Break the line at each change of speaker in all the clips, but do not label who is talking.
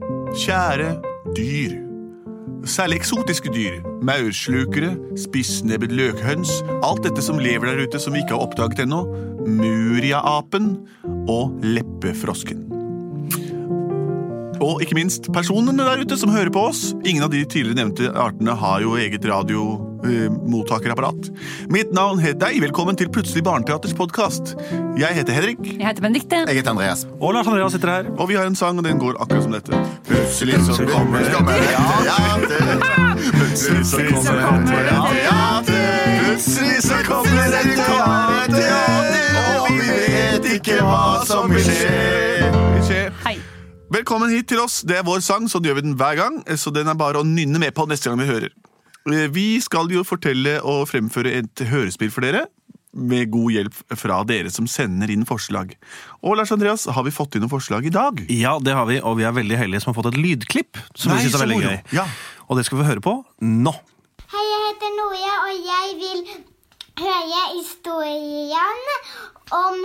Kjære dyr. Særlig eksotiske dyr. Maurslukere, spissnebbet løkhøns, alt dette som lever der ute som vi ikke har oppdaget ennå. Muriaapen og leppefrosken. Og ikke minst personene der ute som hører på oss. Ingen av de tidligere nevnte artene har jo eget radiomottakerapparat. Mitt navn heter deg. Velkommen til Plutselig barneteaters podkast. Jeg heter Henrik.
Jeg heter Benedikte.
Jeg heter Andreas.
Og Lars Andreas sitter her.
Og vi har en sang, og den går akkurat som dette.
Plutselig så kommer det teater. Plutselig så kommer det teater. Plutselig så kommer det teater. Og vi vet ikke hva som vil skje.
Hei.
Velkommen hit til oss. Det er vår sang, sånn gjør vi den hver gang. Så den er bare å nynne med på neste gang vi hører. Eh, Vi skal jo fortelle og fremføre et hørespill for dere. Med god hjelp fra dere som sender inn forslag. Og Lars Andreas, har vi fått inn noen forslag i dag?
Ja, det har vi, og vi er veldig heldige som har fått et lydklipp. Som
Nei,
vi synes
så
er veldig
moro.
gøy.
Ja.
Og det skal vi høre på nå.
Hei, jeg heter Noia, og jeg vil høre historien om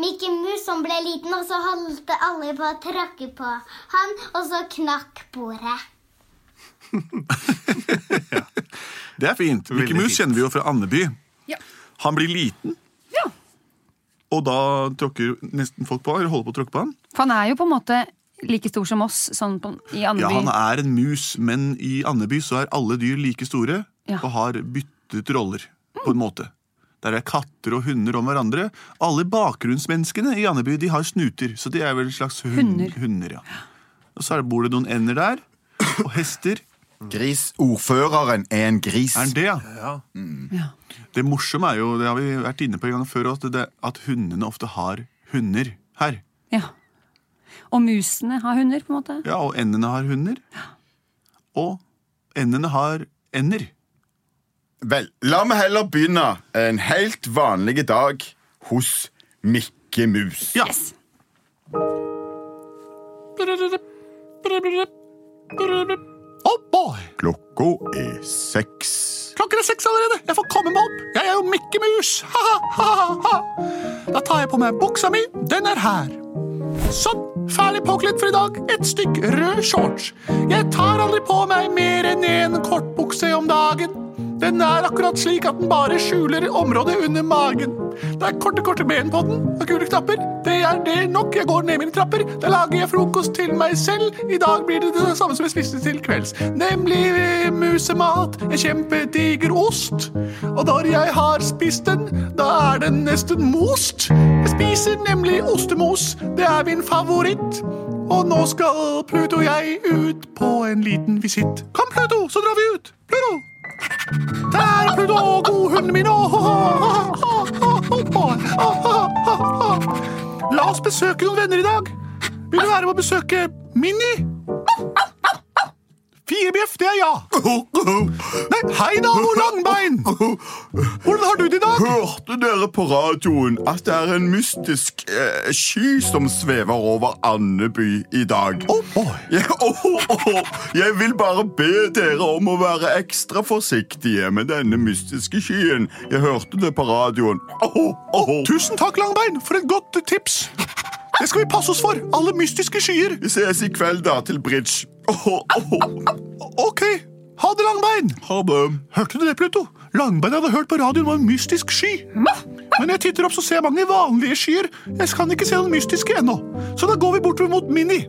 Mikke Mus som ble liten, og så holdt alle på å tråkke på han, og så knakk bordet.
Det er fint. Mikke
Veldig
Mus
fint.
kjenner vi jo fra Andeby.
Ja.
Han blir liten,
ja.
og da tråkker nesten folk på han, eller holder på å tråkke på han.
For han er jo på en måte like stor som oss sånn på, i Andeby.
Ja, han er en mus, men i Andeby så er alle dyr like store
Ja.
og har byttet roller, på en måte. Der er katter og hunder om hverandre. Alle bakgrunnsmenneskene i Andeby de har snuter, så de er vel slags hun
Hunder.
hunder ja. Og så er det- bor det noen ender der, og hester.
Gris. Ordføreren er en gris.
Er den det, ja? Mm.
Ja.
Det morsomme er jo, det har vi vært inne på en gang før, at, det, at hundene ofte har hunder her.
Ja. Og musene har hunder, på en måte.
Ja, og endene har hunder. Og endene har ender.
Vel, la meg heller begynne en helt vanlig dag hos Mikke Mus.
Ja.
Yes.
Oh boy!
Klokka er seks.
Klokken er seks allerede. Jeg får komme meg opp. Jeg er jo Mikke Mus. Ha, ha, ha, ha, ha. Da tar jeg på meg buksa mi. Den er her. Sånn. Ferdig påkledd for i dag. Et stykk rød shorts. Jeg tar aldri på meg mer enn én kortbukse om dagen. Den er akkurat slik at den bare skjuler området under magen. Det er korte, korte ben på den og gule knapper. Det er det nok. Jeg går ned mine trapper. Da lager jeg frokost til meg selv. I dag blir det sånn. det samme som jeg spiste til kvelds. Nemlig eh, musemat. En kjempediger ost. Og når jeg har spist den, da er den nesten most. Jeg spiser nemlig ostemos. Det er min favoritt. Og nå skal Pluto og jeg ut på en liten visitt. Kom, Pluto, så drar vi ut. Pluto! Der, Pluto, godhunden min. Åh, åh, åh, åh, åh, åh, åh, åh, åh, åh. La oss besøke noen venner i dag. Vil du være med å besøke Minni? Fire bjeff, det er ja. Nei, hei, nabo Langbein. Hvordan har du det i dag?
Hørte dere på radioen at det er en mystisk eh, sky som svever over Andeby i dag?
Oh boy.
Jeg, åh, åh, oh. jeg vil bare be dere om å være ekstra forsiktige med denne mystiske skyen. Jeg hørte det på radioen. Oh, Åh, åh.
Tusen takk, Langbein, for et godt tips. Det skal vi passe oss for. Alle mystiske skyer.
Vi ses i kveld, da, til bridge. Åh, åh.
Ok, ha det, Langbein.
Ha det.
Hørte du det, Pluto? Langbein hadde hørt på radioen var en mystisk sky. Men jeg titter opp så ser jeg mange vanlige skyer. Jeg kan ikke se noen mystiske ennå. Så da går vi bortover mot Minni.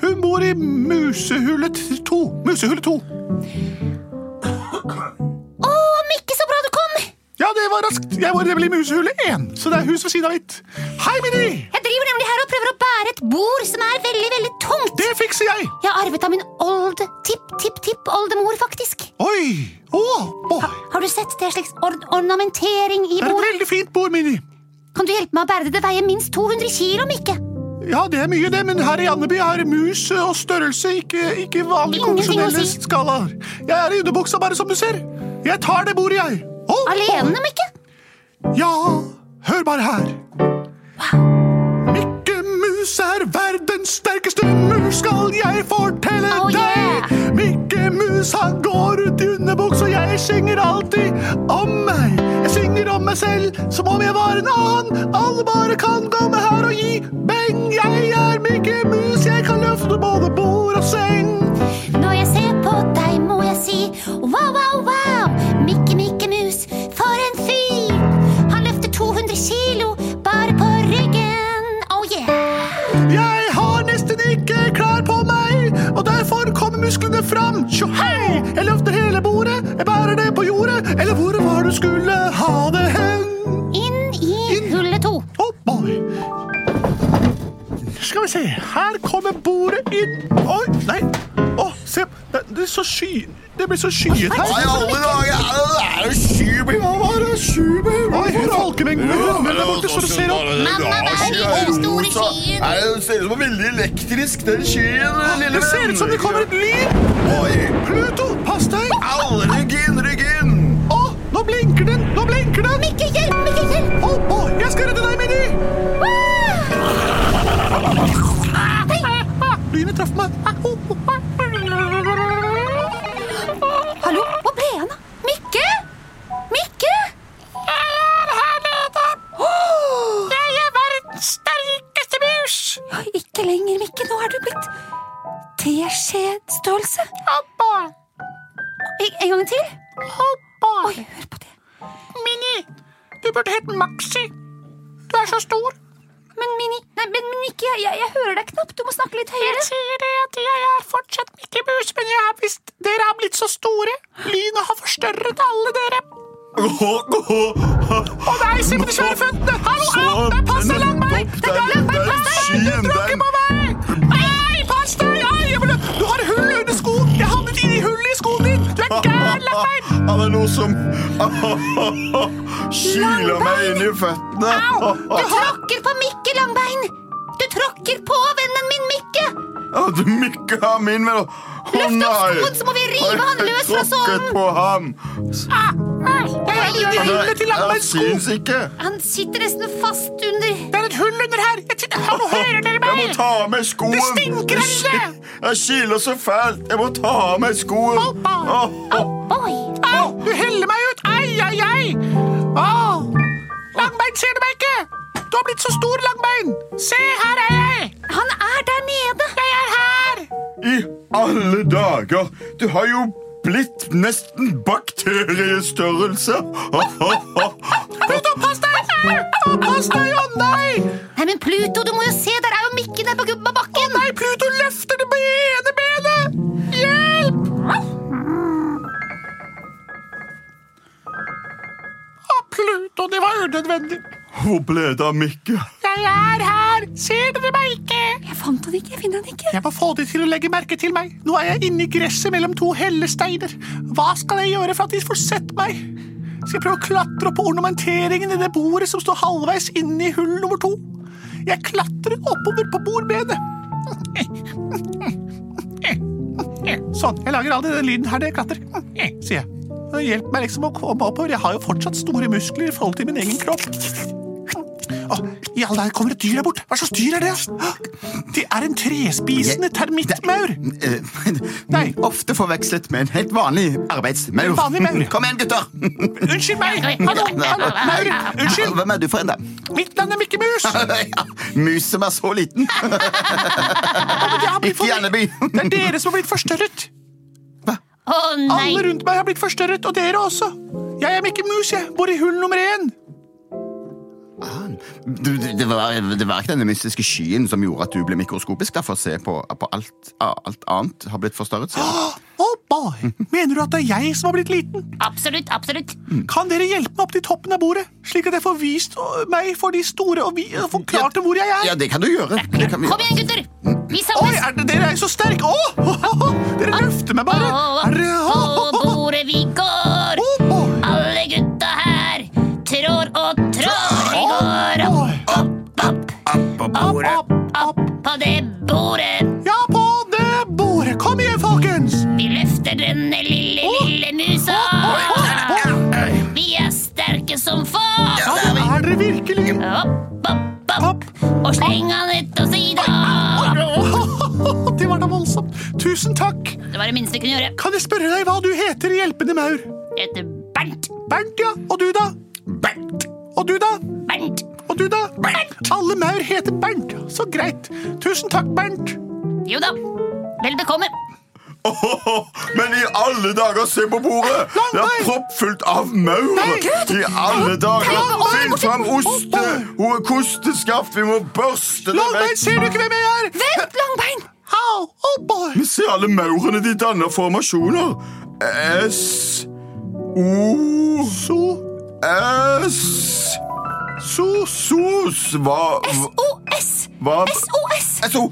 Hun bor i musehullet 2. Musehullet 2.
Mikke, så bra du kom!
Ja, det var raskt. Jeg var nemlig i musehullet 1, så det er hus ved siden av mitt. Hei, Minni!
Jeg driver nemlig her og prøver å bære et bord som er veldig, veldig tungt.
Det fikser jeg.
Jeg har arvet av min old tipp-tipp-tipp-oldemor, faktisk.
Oi. Å, boy.
Har du sett det er slags or ornamentering i
Det er et
bordet?
veldig fint bord, Minni.
Kan du hjelpe meg å bære det? Det veier minst 200 kilo, Mikke.
Ja, det er mye, det, men her i Andeby er mus og størrelse ikke, ikke vanlig
Ingenting å si.
konvensjonelle skalaer. Jeg er i underbuksa, bare som du ser. Jeg tar det bordet, jeg. Å,
Alene, Mikke?
å. Ja, hør bare her. Mikke Mus er verdens sterkeste mus, skal jeg fortelle
Oh, yeah.
deg. Mikke Mus, han går ut i underbuksa, jeg synger alltid om meg. Jeg synger om meg selv som om jeg var en annen. Alle bare kan komme her og gi beng. Jeg er Mikke Mus, jeg kan løfte både bord og seng.
Oh,
og derfor kommer musklene fram. Tjo hei! Jeg løfter hele bordet, jeg bærer det på jordet, eller hvor var du skulle ha det hen?
Inn i
Inn.
hullet to.
Oh boy. Skal vi se. Her kommer bordet inn. Oi, nei. Å, se. Det, det er så sky... Det blir så skyet
Nei,
her.
alle dager! Det er jo Skyby! Hva var det? sånn Skyby?
Oi, folkemengden med hunder der borte som ser opp.
Mamma, hva er det i den store skyen?
Nei, det ser ut som en veldig elektrisk, den skyen, lille venn.
Det ser ut som det kommer et lyn.
Oi!
Pluto, pass deg.
Au, rygg inn, rygg inn!
Å, nå blinker den. Nå blinker den.
Ikke hjelp, ikke hjelp!
Å, å, jeg skal redde deg, Minnie. Lynet traff meg. Au, au, au.
Hallo, hvor ble han av? Mikke? Mikke? Jeg er verdens sterkeste mus. Ikke lenger, Mikke. Nå er du blitt teskjedstørrelse. En en gang til. Oi, hør på det.
Minnie, du burde hett Maxi. Du er så stor.
Men Mini, nei, men, men ikke, jeg, jeg, jeg hører deg knapt. Du må snakke litt høyere.
sier det at jeg er fortsatt Mickey Mouse, men jeg har visst dere har blitt så store. Lynet har forstørret alle dere. Og deg, Simen Skjærføttene! Hallo, au! Det passer langt meg! Det er langt meg! Pass deg! Du tråkker på meg! Nei, pass deg! Ai, jeg ble... Du har hull under skoen! Jeg havnet inn i hullet i skoen din! Du er gæren, langt meg!
Ja, det er noe som kyler meg inn i føttene.
Du tråkker på Mikke Langbein! Du tråkker på vennen min Mikke!
Ja, du mykka min vel. Å
Løft opp
nei!
skoen, så må vi rive han
Har jeg
løs fra sånn.
tråkket
sonen.
på ham.
Ah, Jeg er i hullet til langt
jeg
meg sko!
syns ikke.
Han sitter nesten fast under
Det er et hull under her! Jeg sitter... Hallo, hører dere
Jeg må
meg?
ta av meg skoen.
Det stinker
Jeg
her
ki- Jeg kiler så fælt. Jeg må ta av meg skoen.
Hoppa.
Å, å.
Oi!
Au! Du heller meg ut! Ai, ai, ai! Au! Langbein ser du meg ikke! Du har blitt så stor, langbein! Se, her er jeg!
Han er der nede!
Jeg er her!
I alle dager! Du har jo blitt nesten bakteriestørrelse.
Pluto, pass deg! Pluto, pass deg! Å nei!
Nei, men Pluto, du må jo se! Der er jo Mikke nede på gubben på bakken!
Nei, Pluto løfter det med ene benet! Hjelp! Å, Pluto, det var unødvendig.
Hvor ble det av Mikke?
Jeg er her! Ser dere meg ikke?
Jeg fant han ikke! Jeg finner han ikke.
Jeg må få de til å legge merke til meg. Nå er jeg inni gresset mellom to hellesteiner. Hva skal jeg gjøre for at de får sett meg? Skal jeg prøve å klatre opp på ornamenteringen i det bordet som står halvveis inne i hull nummer to? Jeg klatrer oppover på bordbenet. Sånn. Jeg lager all den lyden her når jeg klatrer, sier jeg. Hjelp meg liksom å komme oppover. Jeg har jo fortsatt store muskler i forhold til min egen kropp. Å, I alle dager kommer et dyr der bort. Hva slags dyr er det? Det er en trespisende termittmaur. Nei.
Eh, Ofte forvekslet med en helt vanlig arbeidsmaur.
En vanlig maur.
Kom igjen, gutter!
Unnskyld meg! Hallo, hallo, maur! Unnskyld!
Hvem er du for en, da?
Mitt navn er Mikke Mus!
Ja, Mus som er så liten.
Jeg har blitt
Ikke i
for...
Andeby.
Det er dere som har blitt forstørret.
Å
Alle
nei!
rundt meg har blitt forstørret, og dere også. Jeg er Mikke Mus, jeg. Bor i hull nummer én.
Du, du, det, var, det var ikke denne mystiske skyen som gjorde at du ble mikroskopisk. Derfor se på, på alt, alt annet har blitt forstørret. sier du.
Oh boy. Mener du at det er jeg som har blitt liten?
Absolutt, absolutt.
Kan dere hjelpe meg opp til toppen av bordet, slik at jeg får vist øh, meg for de store og vi- og forklart dem hvor jeg er?
Ja, det kan du gjøre. Det kan vi
Kom
gjøre.
igjen, gutter!
Oi,
Vi samles!
er det, dere er jo så sterke! Å! Dere løfter meg bare. Er det,
På bordet vi går!
Å, boy.
Alle gutta her trår og trår. Vi går øh, opp, opp, opp,
På bordet.
Opp, opp.
på det bordet.
Ja, på det bordet. Kom igjen, folkens!
Vi løfter denne lille, lille musa. Vi er sterke som få.
Ja, det er dere virkelig.
Opp, opp, opp. Og sleng han ut av sida.
Det var da voldsomt. Tusen takk.
Det var det minste vi kunne gjøre.
Kan jeg spørre deg hva du heter, hjelpende maur?
Jeg heter Bernt.
Bernt, ja. Og du, da?
Bernt.
Og du, da?
Bernt.
Og du, da? Bernt. Alle maur heter Bernt. Så greit. Tusen takk, Bernt.
Jo da. Vel bekomme.
Åhåhå, Men i alle dager, se på bordet! Det er
Langbein!
proppfullt av maur!
Nei, Gud!
I alle dager!
Nei, oi,
Finn
hvorfor-
fram oste,
Å,
ho- kosteskaft, vi må børste det
Langbein,
vekk!
ser du ikke hvem jeg er?
Vent, Langbein.
Au! Oh boy!
se alle maurene de danner formasjoner. S O So S So Sos Hva
OS!
hva
SOS!
SO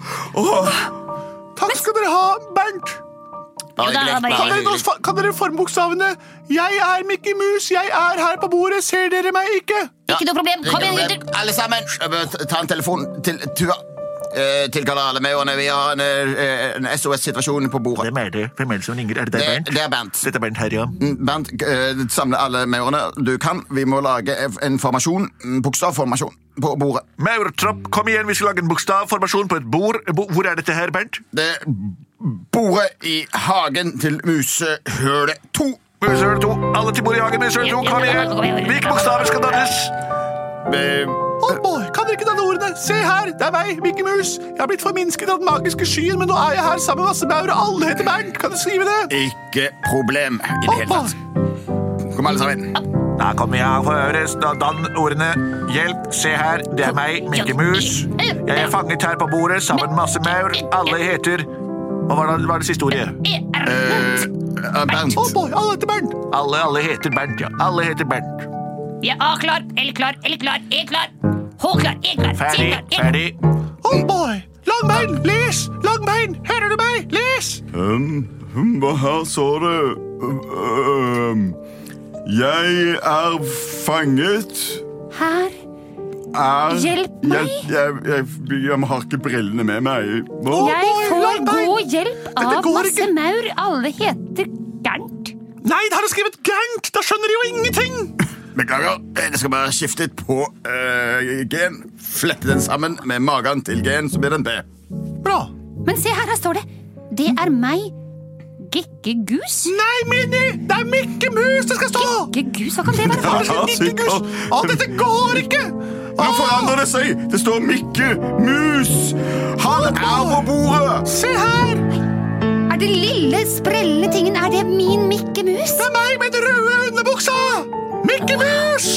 Åh,
Takk skal dere ha, Bernt. Kan dere, nå fa- kan dere forme bokstavene? Jeg er Mickey Mus, jeg er her på bordet, ser dere meg ikke?
Ikke noe problem. Kom igjen, gutter.
Alle sammen, ta en telefon til Tua. Eh, Tilkaller alle maurene. Vi har en, eh, en SOS-situasjon på bordet.
Hvem er det? Hvem er det som ringer? Er det deg,
Det,
Bernt?
det er Bernt.
Dette er Bernt her, ja.
Bernt, eh, samle alle maurene du kan. Vi må lage en formasjon, en bokstavformasjon, på bordet.
Maurtropp, kom igjen, vi skal lage en bokstavformasjon på et bord. Bo hvor er dette her, Bernt?
Det er bordet i hagen til musehølet 2.
Musøl 2, alle til bordet i hagen, Musøl 2, kom igjen! Hvilke bokstaver skal dannes?
Oldboy, Oh kan dere ikke danne ordene? Se her, det er meg, Mickey Mus. Jeg har blitt forminsket av den magiske skyen, men nå er jeg her sammen med masse maur, og alle heter Bernt. Kan dere skrive det? Oh
Ikke problem i det hele tatt.
Oldboy,
Kom, alle sammen.
Da kommer jeg for øres, da dann ordene. Hjelp, se her, det er meg, Mikke Mus. Jeg er fanget her på bordet sammen med masse maur. Alle heter Hva var det, hva er det siste ordet?
Eh, eh, Bernt.
Oldboy, Oh alle heter Bernt.
Alle, alle heter Bernt, ja. Alle heter Bernt.
Vi er A klar, L klar, L klar, E klar. H klar, E klar, C
Ferdig,
klar. E
ferdig.
Oldboy, Oh langbein, les, langbein, hører du meg? Les.
um, hm, hva her står det? Um, jeg er fanget.
Her.
Er,
Hjelp meg.
Jeg, jeg, jeg, jeg har ikke brillene med meg. Åh,
Jeg
la
får
meg-
god hjelp
Dette
av
går
masse
ikke.
maur. Alle heter Bernt.
Nei, det har jeg skrevet gærent. Da skjønner de jo ingenting.
Beklager, jeg skal bare skifte litt på
øh,
eh, gen. Flette den sammen med magen til gen, så blir det en B.
Bra.
Men se her, her står det. Det er meg, Gekke Gus.
Nei, Minni, det er Mickey Mus det skal stå.
Gekke Gus, hva kan det være? for noe?
Ja,
Mickey
sikkert.
Mus. Å, dette går ikke.
Nå forandrer det seg! Det står Mikke Mus! Han er på bordet!
Se her,
Er det lille, sprellende tingen? Er det min Mikke Mus?
det er meg med den røde underbuksa. Mickey Mus.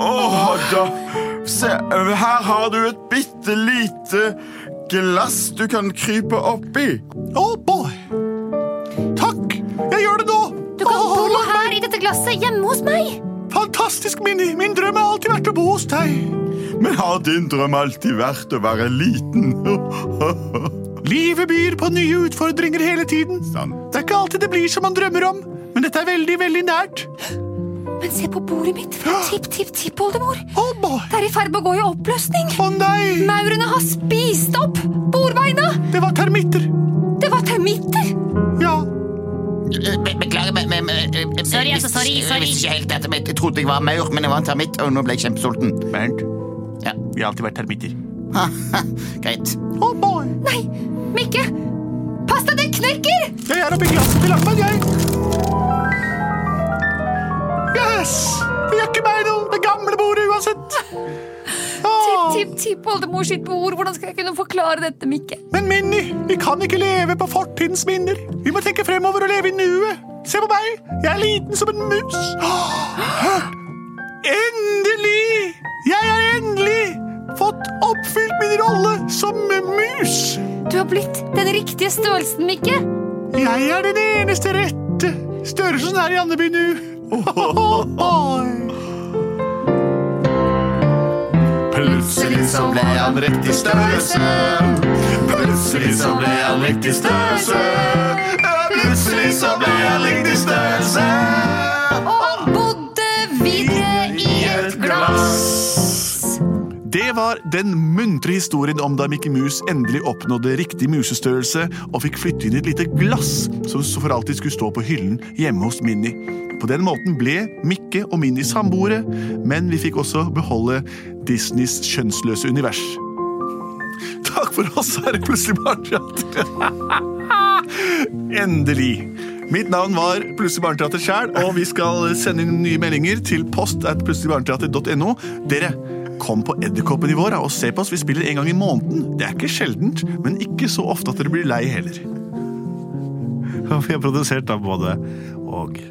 Åh, da. Se, øh, her har du et bitte lite glass du kan krype oppi.
Oh boy. Takk, jeg gjør det nå.
Du kan
Åh,
bo
la-
her i dette glasset hjemme hos meg.
Fantastisk, Minni. Min drøm har alltid vært å bo hos deg.
Men har din drøm alltid vært å være liten?
Livet byr på nye utfordringer hele tiden.
Sant.
Det er ikke alltid det blir som man drømmer om, men dette er veldig, veldig nært.
Men se på bordet mitt fra tipp-tipp-tippoldemor.
Oh boy.
Det er i ferd med å gå i oppløsning.
Å nei,
Maurene har spist opp bordbeina.
det var termitter.
Det var termitter.
Ja,
Be- Beklager, men, men eh, eh, eh,
Sorry, altså,
hvis-
sorry,
jeg
sorry.
visste ikke helt dette, men Jeg trodde jeg var maur, men jeg var en termitt, og nå ble jeg kjempesulten.
Bernt,
Ja.
vi har alltid vært termitter.
Greit.
oh boy.
Nei, Mikke. Pass deg, det knekker!
Jeg er oppi glasset til lampen, jeg. Yes! Det gjør ikke meg noe, det gamle bordet uansett. Åh,
Tipp-tipp-oldemor sitt bord. Hvordan skal jeg kunne forklare dette, Mikke?
Men Minni, vi kan ikke leve på fortidens minner. Vi må tenke fremover og leve i nuet. Se på meg, jeg er liten som en mus. Åh, hørt. Endelig! Jeg har endelig fått oppfylt min rolle som mus.
Du har blitt den riktige størrelsen, Mikke.
Jeg er den eneste rette. Størrelsen er i Andeby nå.
Plutselig så ble han riktig størrelse. Plutselig så ble han riktig størrelse. Plutselig så ble han riktig størrelse.
Og bodde videre i et glass.
Det var den muntre historien om da Mickey Mus endelig oppnådde riktig musestørrelse og fikk flytte inn i et lite glass som så for alltid skulle stå på hyllen hjemme hos Minni. På den måten ble Mikke og Minni samboere, men vi fikk også beholde Disneys kjønnsløse univers. Takk for oss, her er plutselig barneteater. Endelig. Mitt navn var Plutselig barneteater sjæl, og vi skal sende inn nye meldinger til post at plutseligbarneteater.no. Dere, kom på Edderkoppen i vår da, og se på oss. Vi spiller en gang i måneden. Det er ikke sjeldent, men ikke så ofte at dere blir lei heller.
Og vi har produsert av både og.